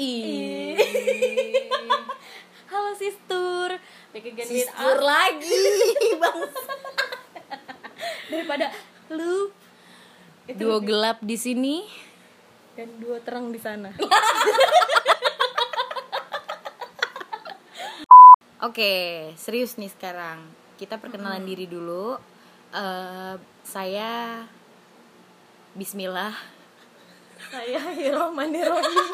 Ih. Halo sister, back again with Sistur us. lagi, Bang. daripada lu itu Duo gelap di sini. dan dua terang di sana. Oke, serius nih sekarang. Kita perkenalan diri dulu. Eh, saya Bismillah. Saya Hiromanirobin.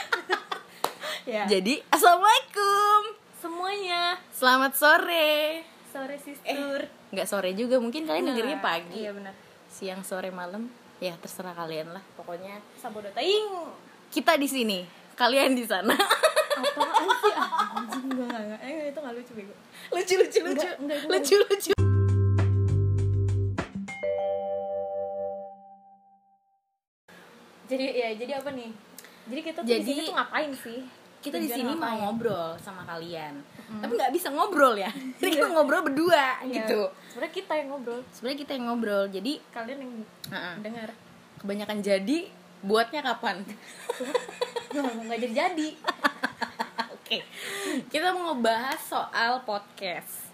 ya. Jadi, Assalamualaikum. Semuanya Selamat sore. sore sister. Nggak sore juga, mungkin kalian dengernya Nah, pagi. Iya benar. Siang, sore, malam. Ya, terserah kalian lah. Pokoknya Sabodo taing. kita di sini, kalian di sana. Apaan sih anjing gua enggak enggak. Eh, itu enggak lucu bego. lucu lucu lucu. Nggak, nggak, nggak. lucu lucu. Jadi ya, jadi apa nih? Jadi kita tuh di Jadi- sini tuh ngapain sih? kita di Tujuan ya? sini mau ngapain? ngobrol sama kalian tapi nggak bisa ngobrol ya jadi kita ngobrol berdua Iya. gitu Sebenarnya kita yang ngobrol, sebenarnya kita yang ngobrol jadi kalian yang uh-uh, dengar. kebanyakan jadi buatnya kapan Enggak jadi-jadi. oke kita mau ngebahas soal podcast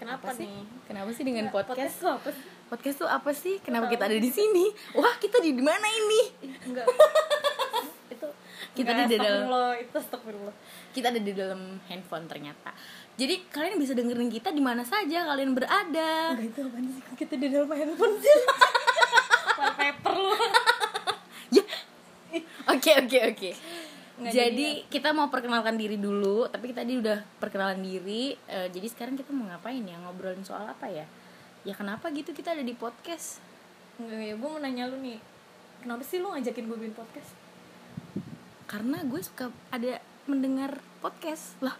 Kenapa Apa sih? nih? kenapa sih dengan Iya, podcast podcast tuh apa sih? podcast tuh apa sih kenapa kita ada di sini wah kita di di mana ini Enggak. itu Kita enggak, di dalam- astagfirullah, itu astagfirullah. kita ada di dalam handphone ternyata jadi kalian bisa dengerin kita di mana saja kalian berada Enggak itu apa sih? Kok Kita di dalam handphone sih. Wallpaper lu. Ya. Oke oke oke. Nggak jadi ya. Jadi kita mau perkenalkan diri dulu, tapi kita tadi udah perkenalan diri. eh, jadi sekarang kita mau ngapain ya? Ngobrolin soal apa ya? Ya kenapa gitu kita ada di podcast? Enggak ya, gue mau nanya lu nih. Kenapa sih lu ngajakin gue bikin podcast? Karena gue suka ada mendengar podcast lah.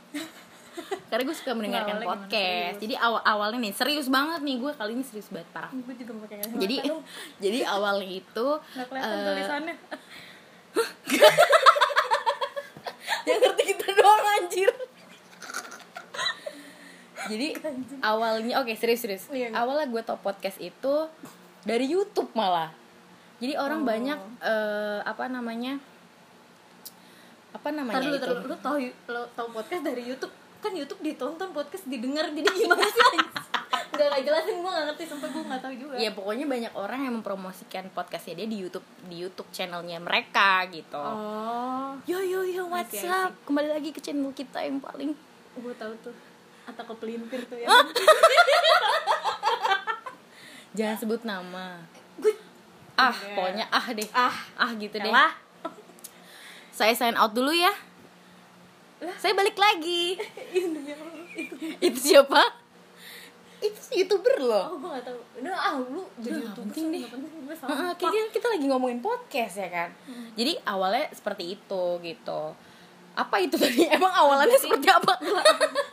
Karena gue suka mendengarkan Awalnya gimana? podcast. Serius. Jadi awal awalnya nih serius banget nih gue kali ini serius banget parah. Gue juga mau pakai kacamata Jadi lu. jadi awalnya itu Nggak kelihatan eh, tulisannya. yang ngerti kita doang anjir jadi awalnya oke serius serius Iya, iya. awalnya gue tau podcast itu dari YouTube malah jadi orang Oh. banyak eh, apa namanya apa namanya Ntar dulu, itu ntar dulu. lu tau, lu tau podcast dari YouTube kan YouTube ditonton podcast didengar jadi gimana sih nggak nggak jelasin gue nggak ngerti sampai gue nggak tahu juga ya pokoknya banyak orang yang mempromosikan podcastnya dia di YouTube di YouTube channelnya mereka gitu oh yo yo yo I see, what's I see. up kembali lagi ke channel kita yang paling gue tahu tuh atau kepelintir tuh ya Ah! jangan sebut nama gue ah Enggak. pokoknya ah deh Ah. ah gitu deh lah Saya sign out dulu ya. Saya balik lagi. itu demi Allah. itu Iya, Itu siapa? Itu si YouTuber loh. oh gue nggak tahu nah ah lu jadi nggak youtuber penting sih, deh. nggak penting gue Heeh, sama kayaknya kita lagi ngomongin podcast ya kan. Oh, Jadi awalnya seperti itu gitu. Apa itu tadi? Emang awalannya seperti apa?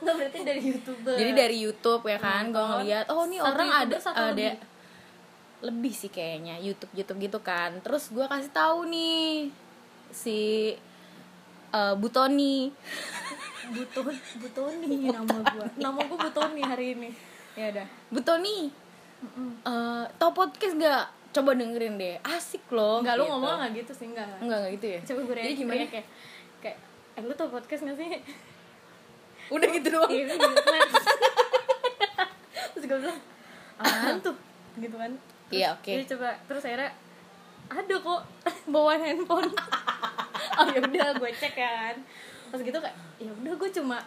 nggak berarti dari youtuber Jadi dari YouTube ya kan, gue ngeliat, oh nih Satu orang ada YouTuber, satu ada lebih. lebih. sih kayaknya YouTube YouTube gitu kan. Terus gue kasih tahu nih si eh, Butoni. butuh butoni nama gue nama gue butoni hari ini ya udah Butoni, Mm-mm. Eh, tau podcast gak? Coba dengerin deh, asik loh. Enggak, lu gitu. ngomong nggak gitu sih, enggak Enggak, enggak gitu ya. Coba gue Jadi reaksi gimana? gimana? kayak ya. Kayak, eh lu tau podcast gak sih? Udah gitu doang. Iya, lu gitu kan. Terus gue bilang, apaan tuh? Gitu kan Terus Iya, oke. Jadi coba, terus akhirnya Ada kok, bawa handphone Oh yaudah, gue cek kan Terus gitu kayak, yaudah gue cuma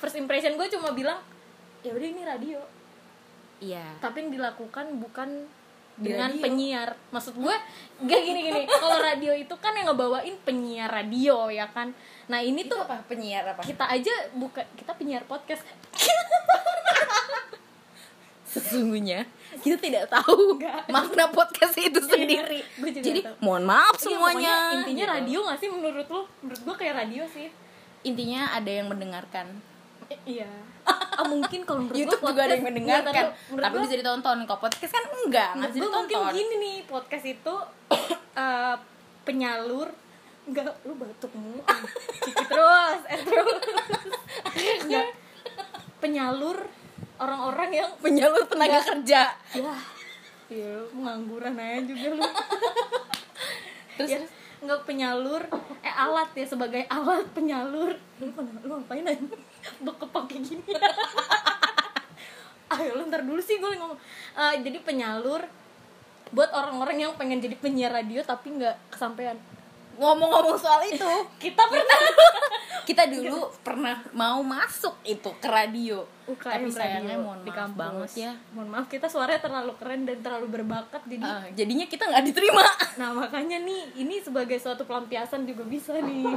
First impression gue cuma bilang Yaudah ini radio Iya. tapi yang dilakukan bukan Di dengan radio. penyiar maksud gue gak gini gini kalau radio itu kan yang ngebawain penyiar radio ya kan nah ini Itu tuh apa? Penyiar apa? kita aja buka kita penyiar podcast Sesungguhnya kita tidak tahu Enggak. makna podcast itu sendiri. Iya. Gua juga Jadi tahu. mohon maaf Iya, semuanya. pokoknya intinya Gitu. radio gak sih menurut lu menurut gue kayak radio sih Intinya ada yang mendengarkan. I- iya Ah, mungkin kalau menurut YouTube gue juga ada yang podcast- mendengarkan, Nggak, ntar lu- menurut iya, tapi gua- bisa ditonton. Kok podcast kan enggak, enggak bisa gue ditonton. mungkin gini nih podcast itu eh, penyalur enggak lu batuk mulu Ciki terus eh terus enggak penyalur orang-orang yang Penyalur tenaga kerja. ya ya lu pengangguran aja juga lu Terus Ya, nggak penyalur eh alat ya sebagai alat penyalur lu kenapa lu ngapain aja bekepok kayak gini ayo lu ntar dulu sih gue ngomong Eh, jadi penyalur buat orang-orang yang pengen jadi penyiar radio tapi nggak kesampaian Ngomong-ngomong soal itu, kita pernah kita dulu pernah mau masuk itu ke radio. Tapi UKM sayangnya radio mohon di maaf kampus. banget ya. mohon maaf kita suaranya terlalu keren dan terlalu berbakat jadi Eh, jadinya kita nggak diterima. Nah makanya nih ini sebagai suatu pelampiasan juga bisa nih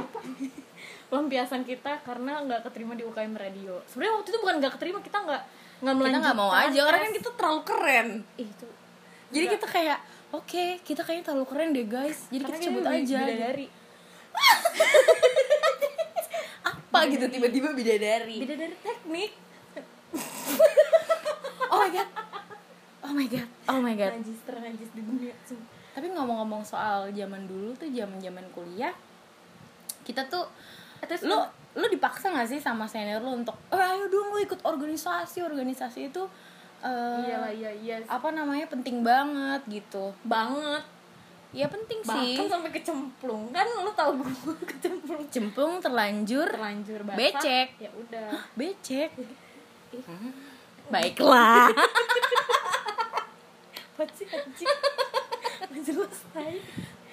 pelampiasan kita karena nggak keterima di UKM radio. Sebenarnya waktu itu bukan nggak keterima kita nggak nggak kita melanjutkan. nggak mau aja, karena kan tes. kita terlalu keren. Ih, itu Jadi kita kayak, oke, kita kayaknya terlalu keren deh guys. Jadi kita cabut aja. Bidadari. Apa gitu tiba-tiba bidadari. Bidadari teknik. Oh my god. Oh my god. Oh my god. Najis ternajis di dunia. Sumpah. Tapi ngomong-ngomong soal zaman dulu tuh zaman-zaman kuliah, kita tuh Eh, Terus lu lu dipaksa nggak sih sama senior lu untuk "Eh, ayo dong lu ikut organisasi organisasi itu eh, iya lah iya iya apa namanya penting banget gitu banget ya penting sih bahkan sampai kecemplung kan lu tau gue kecemplung jempung terlanjur terlanjur basah Becek. ya udah becek Hmm. baiklah apa sih anjing Nggak jelas tai.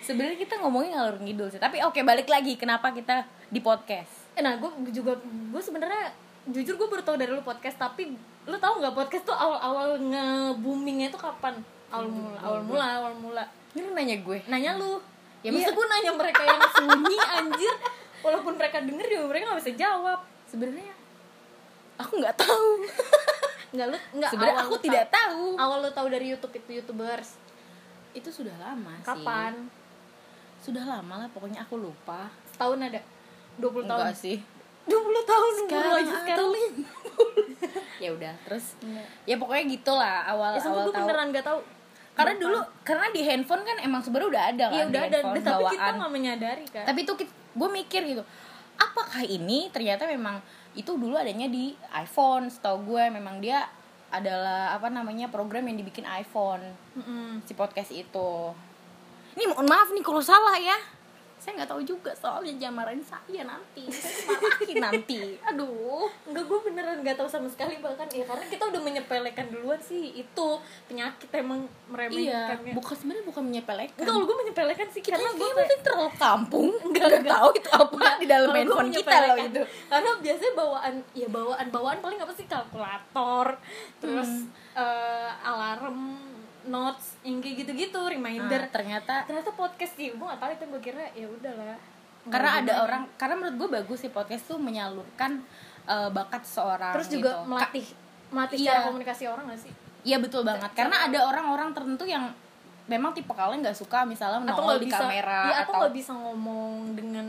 sebenarnya kita ngomongin ngalur ngidul sih tapi oke balik lagi kenapa kita di podcast Eh, nah gue juga gue sebenarnya jujur gue baru tau dari lu podcast tapi lu tahu nggak podcast tuh awal-awal nge boomingnya tuh kapan awal mula awal mula awal mula ini lu nanya gue Nah, nanya lu ya Iya. maksud gue nanya mereka yang sunyi anjir walaupun mereka denger juga mereka nggak bisa jawab sebenarnya aku nggak tahu nggak lu nggak sebenarnya awal aku lu tidak tau- tahu awal lu tahu dari YouTube itu youtubers itu sudah lama sih kapan sudah lama lah pokoknya aku lupa setahun ada 20 tahun enggak sih 20 tahun baru atau aja sekarang Iya, lima. ya udah terus Nggak. ya pokoknya gitulah awal ya sumpah awal gue tahu beneran nggak tahu karena dulu karena di handphone kan emang sebenarnya udah ada kan Iya di udah ada, handphone tapi kita bawaan. nggak menyadari kan. tapi itu gue mikir gitu apakah ini ternyata memang itu dulu adanya di iPhone setahu gue memang dia adalah apa namanya program yang dibikin iPhone Mm-mm. si podcast itu ini mohon maaf nih kalau salah ya saya nggak tahu juga soalnya jangan marahin saya nanti saya marahin nanti aduh Enggak, gue beneran nggak tahu sama sekali bahkan ya karena kita udah menyepelekan duluan sih itu penyakit emang iya meremehkannya. bukan sebenarnya bukan menyepelekan Enggak, kalau gue menyepelekan sih kita karena gue kayaknya mungkin terlalu kampung nggak tahu itu apa di dalam Kalau gua handphone kita loh menyepelekan. itu Karena biasanya bawaan ya bawaan bawaan paling apa sih kalkulator, terus Hmm. eh, alarm, notes, yang kayak gitu-gitu, Nah, reminder. ternyata Ternyata podcast sih, gue gak tahu itu gue kira ya udahlah. karena ada orang karena menurut gue bagus sih podcast tuh menyalurkan eh, bakat seorang terus juga gitu. Ka- melatih melatih Iya. cara komunikasi orang gak sih? Iya betul banget. Karena ada orang-orang tertentu yang memang tipe kalian nggak suka misalnya nongol nggak di kamera iya, atau atau nggak bisa ngomong dengan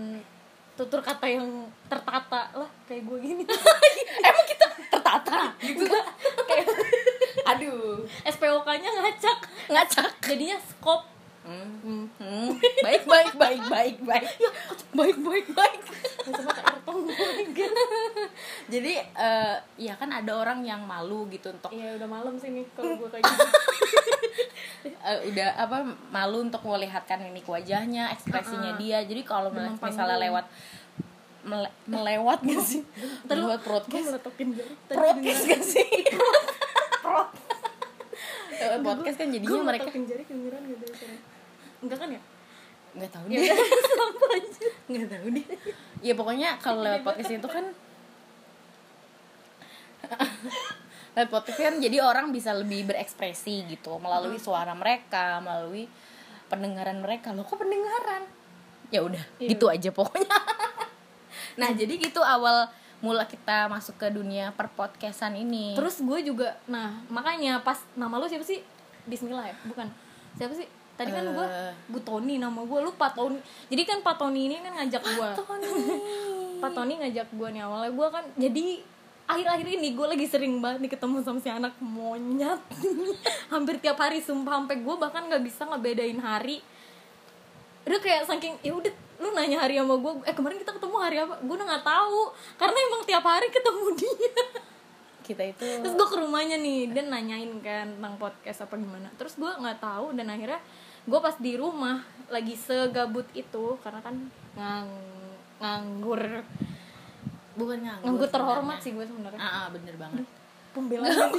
tutur kata yang tertata lah kayak gue gini emang kita tertata. Enggak, kayak Aduh, SPOK-nya ngacak ngacak. jadinya skop Hmm. Hmm. Baik baik baik baik baik. baik baik baik. sama kayak Ertong gitu Jadi eh, ya kan ada orang yang malu gitu untuk iya udah malam sih nih kalau gue kayak gitu eh, udah apa malu untuk melihatkan mimik wajahnya, ekspresinya dia. Jadi kalau Demam misalnya panggung. lewat mele- melewat gitu sih. Lewat gue broadcast. meletokin jari tadi Broadcast kan? kedengeran. gak sih? Eh, podcast kan gue jadinya mereka meletokin jari kedengeran gitu sekarang enggak kan ya nggak tahu ya deh. udah sama aja Nggak tahu deh. Ya pokoknya kalau lewat podcast itu kan lewat podcast kan jadi orang bisa lebih berekspresi gitu melalui suara mereka, melalui pendengaran mereka. Loh kok pendengaran? Ya udah, Iya. gitu aja pokoknya. nah, jadi gitu awal mula kita masuk ke dunia perpodcastan ini. Terus gue juga, nah makanya pas nama lu siapa sih? Bismillah ya? Bukan. Siapa sih? Tadi kan gue Eh. Bu Tony nama gue, lu Pak Tony. Jadi kan Pak Tony ini kan ngajak gue. Pak Tony ngajak gue nih awalnya gue kan jadi akhir-akhir ini gue lagi sering banget nih ketemu sama si anak monyet hampir tiap hari sumpah sampai gue bahkan nggak bisa ngebedain hari udah kayak saking ya udah lu nanya hari sama gue eh kemarin kita ketemu hari apa gue udah nggak tahu karena emang tiap hari ketemu dia kita itu terus gue ke rumahnya nih dan nanyain kan tentang podcast apa gimana terus gue nggak tahu dan akhirnya gue pas di rumah lagi segabut itu karena kan ngang, nganggur bukan nganggur nganggur terhormat sebenarnya. sih gue sebenarnya ah, ah, bener banget pembelaan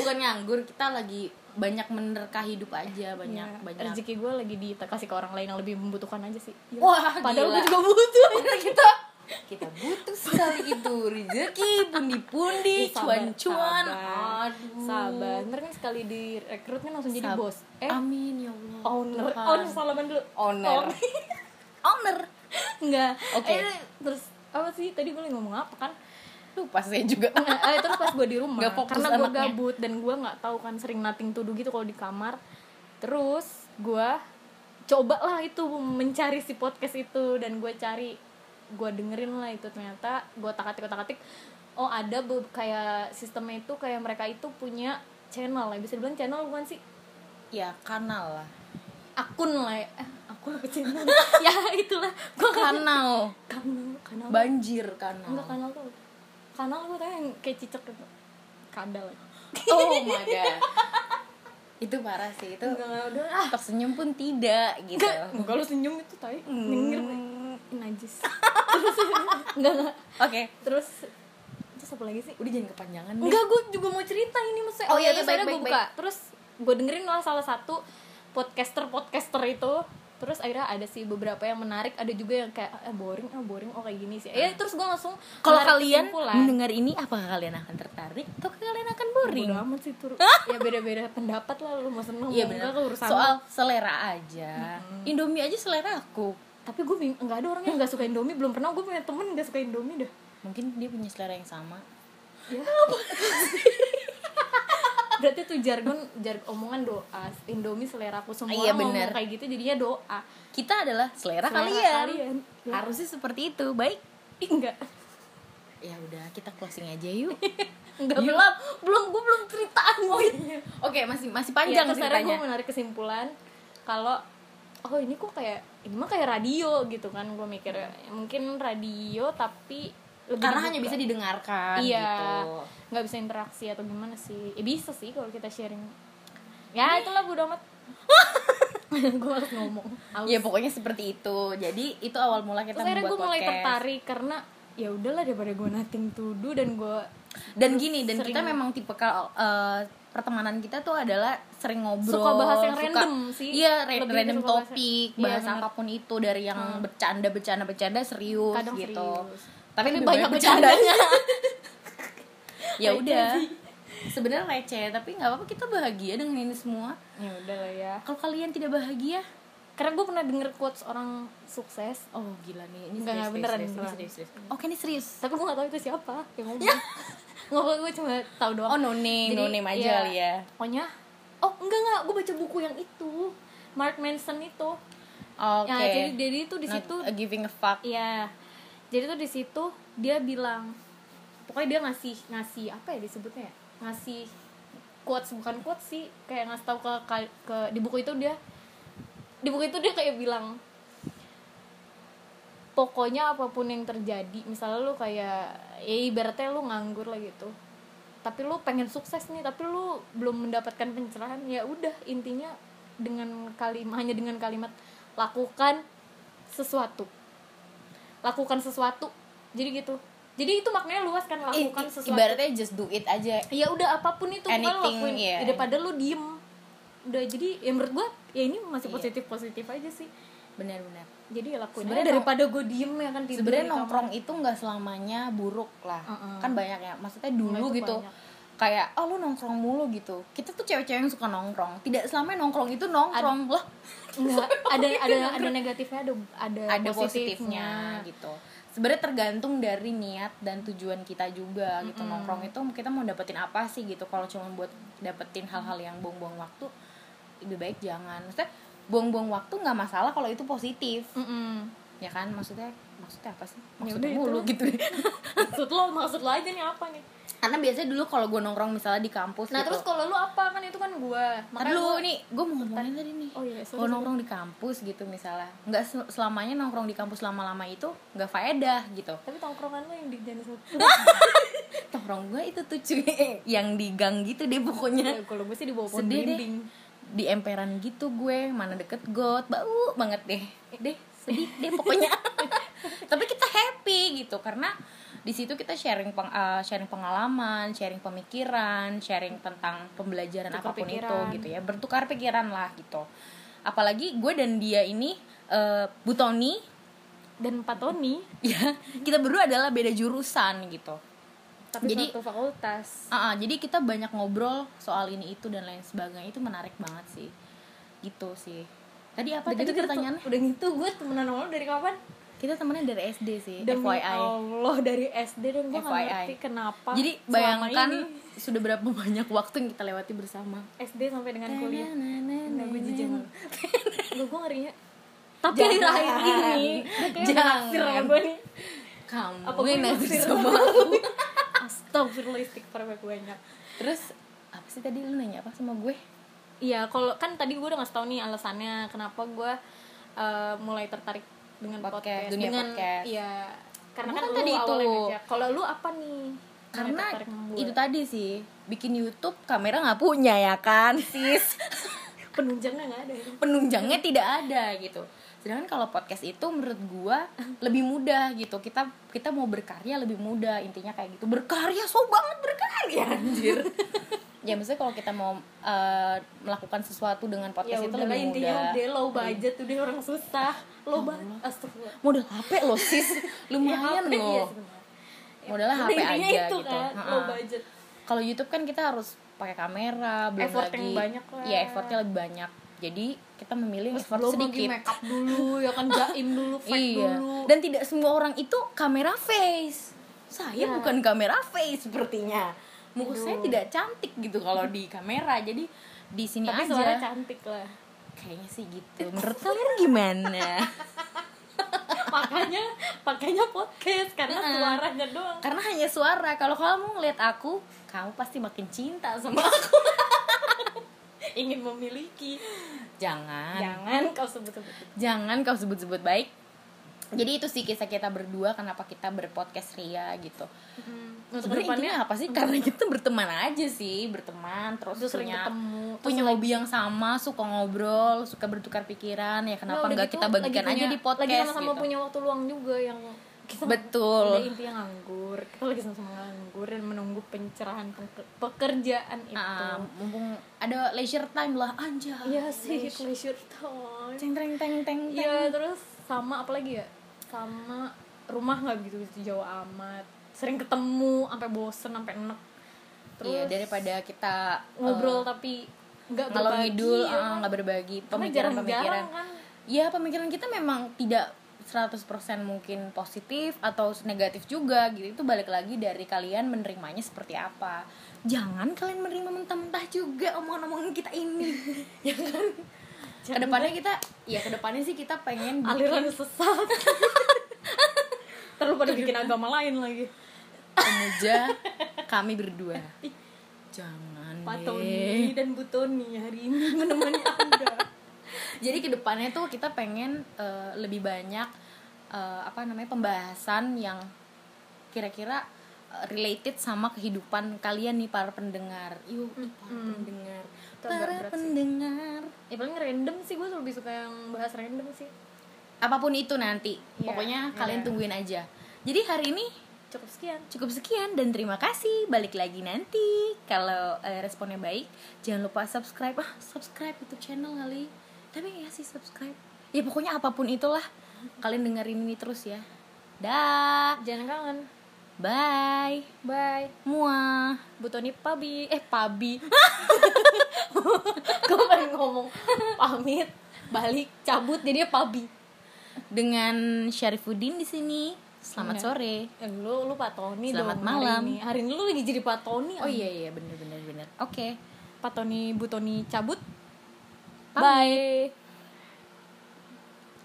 bukan nganggur kita lagi banyak menerka hidup aja banyak Iya, banyak rezeki gue lagi dikasih ke orang lain yang lebih membutuhkan aja sih Iya. Wah, padahal gila. gue juga butuh kita kita butuh sekali itu rezeki pundi-pundi Ih, sabar, cuan-cuan sabar. aduh sabar ntar kan sekali direkrut kan langsung jadi Sab- bos eh amin ya allah owner Tuhan. owner salaman dulu owner Owner. owner enggak Oke. Eh, terus apa sih tadi gue lagi ngomong apa kan lupa saya juga Nah, eh, terus pas gue di rumah Nggak fokus karena gue anaknya. gabut dan gue nggak tahu kan sering nothing to do gitu kalau di kamar terus gue cobalah itu mencari si podcast itu dan gue cari gue dengerin lah itu ternyata gue tak atik tak atik oh ada be- kayak sistemnya itu kayak mereka itu punya channel lah bisa dibilang channel bukan sih ya kanal lah akun lah ya. Eh, akun apa channel ya itulah gue kanal kan. kanal kanal banjir kanal enggak kanal tuh kanal gue tau yang kayak cicak gitu kadal ya. oh my god itu parah sih itu enggak enggak, udah ah. tersenyum pun tidak gitu Enggak, enggak lu senyum itu tai. Hmm. Denger nih. Najis. enggak, enggak. oke Terus terus apa lagi sih? udah jangan kepanjangan deh. Enggak, gue juga mau cerita ini maksudnya. Oh, iya, iya, terus baik, akhirnya baik, gua buka. Terus gue dengerin lah salah satu podcaster-podcaster itu. Terus akhirnya ada sih beberapa yang menarik, ada juga yang kayak eh, boring, ah boring, oh kayak gini sih. Ya terus gue langsung Kalau menarik kalian kesimpulan. mendengar ini, apakah kalian akan tertarik atau kalian akan boring? Bodo amat sih tur. ya beda-beda pendapat lah lu mau seneng Iya mau benar. enggak, urusan lu. Soal selera aja. Indomie aja selera aku. tapi gue bing- nggak ada orang yang nggak suka Indomie belum pernah gue punya temen nggak suka Indomie dah Mungkin dia punya selera yang sama. ya. berarti tuh jargon jargon omongan doa Indomie selera aku semua Iya, ngomong bener. kayak gitu jadinya doa Kita adalah selera, Selera kalian. kalian. Ya. Harusnya seperti itu. Baik. Ih, enggak Ya udah, kita closing aja yuk. enggak Yuk. belum belum gue belum cerita anjir. Oke, masih masih ya, panjang Iya, terus akhirnya gue ceritanya. menarik kesimpulan kalau oh ini kok kayak ini mah kayak radio gitu kan gue mikir mungkin radio tapi lebih Karena dibuka. hanya bisa didengarkan iya gitu. nggak bisa interaksi atau gimana sih ya, bisa sih kalau kita sharing ya itulah bodo amat gue harus ngomong Aus. Ya pokoknya seperti itu. Jadi itu awal mula kita terus akhirnya membuat gue mulai podcast. tertarik karena ya udahlah daripada gue nothing to do dan gue dan gini dan sering- kita memang tipe kal- eh, pertemanan kita tuh adalah sering ngobrol Suka bahas yang random sih. iya ra- Lebih random suka bahas- topik Iya, bahas bener. apapun itu dari yang bercanda bercanda bercanda Hmm. serius Kadang gitu serius. tapi Tapi lebih banyak banyak bercandanya ya udah sebenarnya receh tapi nggak apa-apa kita bahagia dengan ini semua ya udahlah ya kalau kalian tidak bahagia karena gue pernah denger quotes orang sukses oh gila nih ini serius, Nggak, nggak, serius, beneran, serius, ini beneran. serius, serius. oke ini serius tapi gue gak tahu itu siapa yang ngomong ngomong gue cuma tahu doang Ya. oh no name no name aja iya. kali ya pokoknya oh enggak enggak gue baca buku yang itu Mark Manson itu oke Nah, ya jadi jadi itu di Not situ a giving a fuck Iya. Jadi tuh di situ dia bilang pokoknya dia ngasih ngasih apa ya disebutnya ya? Ngasih quotes bukan quotes sih, kayak ngasih tahu ke, ke ke di buku itu dia di buku itu dia kayak bilang pokoknya apapun yang terjadi, misalnya lu kayak ya ibaratnya lu nganggur lah gitu. Tapi lu pengen sukses nih, tapi lu belum mendapatkan pencerahan, ya udah intinya dengan kalimat hanya dengan kalimat lakukan sesuatu lakukan sesuatu jadi gitu jadi itu maknanya luas I- kan i- lakukan sesuatu Ibaratnya just do it aja. ya udah apapun itu bukan lo Anything, lakuin iya. daripada lu diem udah jadi ya menurut gua ya ini masih Iya. positif positif aja sih Benar-benar. jadi ya lakuin Sebenarnya aja daripada gua diem ya kan tidur Sebenarnya di kamar. nongkrong itu nggak selamanya buruk lah. Mm-mm. Kan banyak ya. Maksudnya dulu Nggak, Nah, itu gitu. banyak. Kayak oh lu nongkrong mulu gitu. Kita tuh cewek-cewek yang suka nongkrong. Tidak selamanya nongkrong itu nongkrong lah. Nggak, ada ada ada negatifnya ada ada, Ada positifnya, positifnya gitu. Sebenarnya tergantung dari niat dan tujuan kita juga gitu. Nongkrong itu kita mau dapetin apa sih gitu. Kalau cuma buat dapetin hal-hal yang buang-buang waktu lebih baik jangan. Maksudnya buang-buang waktu nggak masalah kalau itu positif. Mm-mm. ya kan maksudnya maksudnya apa sih Ya maksudnya udah, mulu itulah. gitu deh maksud lo maksud lo aja nih apa nih karena biasanya dulu kalau gue nongkrong misalnya di kampus nah gitu, terus kalau lu apa kan itu kan gua Ntar Makanya dulu gua- nih gue mau ngomongin tadi nih Oh iya, sorry, kalau nongkrong di kampus gitu misalnya nggak se- selamanya nongkrong di kampus lama-lama itu nggak faedah gitu tapi tongkrongan lo yang di jangan satu nongkrong gue itu tuh cuy yang di gang gitu deh pokoknya Ya, kalau gue sih di bawah pohon sedih deh belimbing di emperan gitu gue mana deket got bau banget deh Eh, deh sedih deh pokoknya tapi kita happy gitu karena di situ kita sharing peng- eh, sharing pengalaman sharing pemikiran sharing tentang pembelajaran Tukar apapun pikiran. itu gitu ya bertukar pikiran lah gitu apalagi gue dan dia ini eh, Bu Tony dan Pak Tony ya kita berdua adalah beda jurusan gitu tapi Jadi- satu fakultas Ah, ah, jadi kita banyak ngobrol soal ini itu dan lain sebagainya itu menarik banget sih gitu sih tadi apa Udah tadi gitu kita pertanyaannya tuh- udah gitu gue temenan sama lu dari kapan kita temennya dari SD sih Demi FYI Allah dari SD dan gue nggak FYI. ngerti kenapa jadi selama bayangkan ini sudah berapa banyak waktu yang kita lewati bersama kan, SD sampai dengan kuliah Nggak, gue jijik jangan banget. Gue gue ngerinya tapi Jangan. di akhir ini dia kayak Jangan. naksir sama gue nih Apa kamu gue yang nanti naksir? sama Astagfirullah istighfar banyak terus apa sih tadi lu nanya apa sama gue Iya, kalau kan tadi gue udah ngasih tau nih alasannya kenapa gue eh, mulai tertarik dengan podcast, Podcast, dunia dengan podcast. iya karena Kamu kan, kan tadi tadi itu. itu. Kalau lu apa nih? karena Yang tertarik sama gue? itu tadi sih bikin YouTube kamera nggak punya ya kan sis penunjangnya nggak ada. penunjangnya tidak ada gitu sedangkan kalau podcast itu menurut gua lebih mudah gitu kita kita mau berkarya lebih mudah intinya kayak gitu berkarya so banget berkarya anjir ya maksudnya kalau kita mau eh, melakukan sesuatu dengan Ya podcast itu udahlah lebih intinya mudah Iya. udah low budget udah orang susah low budget astagfirullah modal HP lo sis lumayan Ya, iya loh sebenarnya. modalnya Udah HP intinya aja itu gitu kan Ha-ha. low budget kalau YouTube kan kita harus pakai kamera belum Effort lagi yang banyak lah. ya effortnya lebih banyak jadi kita memilih effort belum lagi sedikit make up dulu ya kan jaim dulu fake iya. dulu Dan tidak semua orang itu kamera face. Saya Iya. bukan kamera face sepertinya. Muka Aduh. saya tidak cantik gitu kalau di kamera. Jadi di sini tapi aja. suara cantik lah Kayaknya sih gitu. Menurut kalian gimana? makanya pakainya podcast karena Heeh. suaranya doang Karena hanya suara. Kalau kamu ngeliat aku, kamu pasti makin cinta sama aku. ingin memiliki Jangan. jangan kau sebut-sebut Jangan kau sebut-sebut baik. Jadi itu sih kisah kita berdua kenapa kita berpodcast Ria gitu. untuk Sebenarnya intinya apa sih? Karena kita berteman aja sih, berteman terus, Terus sering punya ketemu, terus punya hobi yang sama, suka ngobrol, suka bertukar pikiran. Ya kenapa nggak kita bagikan aja di podcast gitu lagi sama-sama gitu. punya waktu luang juga yang kita Betul. udah gitu. intinya nganggur kita lagi sama-sama nganggur dan menunggu pencerahan pe- pekerjaan itu Ah, mumpung ada leisure time lah anjay. Iya sih pleasure time Teng teng teng teng. teng. Iya terus sama apalagi ya sama rumah nggak gitu jauh amat sering ketemu sampai bosen sampai enek terus Iya, daripada kita ngobrol tapi eh, nggak ngalor berbagi ngidul, ya ah, kan? nggak berbagi Karena jarang-jarang pemikiran-pemikiran. kan Ya pemikiran kita memang tidak 100% mungkin positif atau negatif juga gitu itu balik lagi dari kalian menerimanya seperti apa jangan kalian menerima mentah-mentah juga omongan-omongan kita ini ya kan Jangan kedepannya kita ya kedepannya sih kita pengen bikin- aliran sesat terlalu pada bikin agama lain lagi pemuja kami berdua jangan Pak deh. Tony dan Bu Tony hari ini menemani anda jadi kedepannya tuh kita pengen eh, lebih banyak eh, apa namanya pembahasan yang kira-kira eh, related sama kehidupan kalian nih para pendengar yuk ih, para pendengar para Itu agak Hmm. berat sih. pendengar ya paling random sih gue lebih suka yang bahas random sih apapun itu nanti Iya, pokoknya iya. kalian tungguin aja jadi hari ini cukup sekian cukup sekian dan terima kasih balik lagi nanti kalau eh, responnya baik jangan lupa subscribe ah subscribe YouTube channel kali tapi ya sih subscribe ya pokoknya apapun itulah kalian dengerin ini terus ya dah jangan kangen bye bye muah Bu Tony pabi eh pabi gue pengen ngomong pamit balik cabut jadinya pabi dengan Syarifuddin di sini selamat Iya. sore Eh, lu lu Pak Tony Selamat dong malam. hari ini hari ini lu lagi jadi Pak Tony oh iya iya bener bener bener oke Pak Tony Bu Tony cabut Pamit. bye